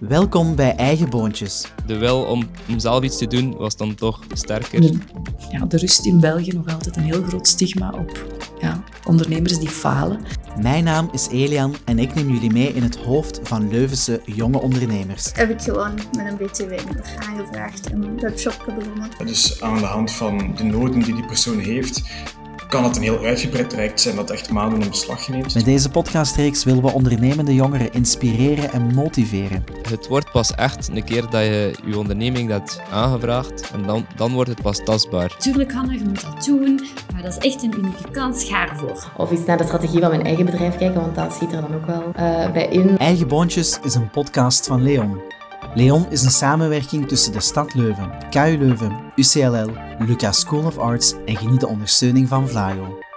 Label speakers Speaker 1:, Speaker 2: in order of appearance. Speaker 1: Welkom bij Eigen Boontjes.
Speaker 2: De wil om, om zelf iets te doen was dan toch sterker.
Speaker 3: De, ja, er rust in België nog altijd een heel groot stigma op ja, ondernemers die falen.
Speaker 1: Mijn naam is Elian en ik neem jullie mee in het hoofd van Leuvense jonge ondernemers.
Speaker 4: heb ik gewoon met een beetje weinig aangevraagd een webshop begonnen.
Speaker 5: Dus aan de hand van de noden die die persoon heeft, kan het een heel uitgebreid traject zijn dat echt maanden in beslag neemt.
Speaker 1: Met deze podcastreeks willen we ondernemende jongeren inspireren en motiveren.
Speaker 2: Het wordt pas echt een keer dat je je onderneming hebt aangevraagd en dan, dan wordt het pas tastbaar.
Speaker 6: Tuurlijk, Hanna, je moet dat doen, maar dat is echt een unieke kans. Ga ervoor.
Speaker 7: Of eens naar de strategie van mijn eigen bedrijf kijken, want dat zit er dan ook wel eh, bij in.
Speaker 1: Eigen Boontjes is een podcast van Leon. Leon is een samenwerking tussen de stad Leuven, KU Leuven, UCLL, Lucas School of Arts en geniet de ondersteuning van Vlaio.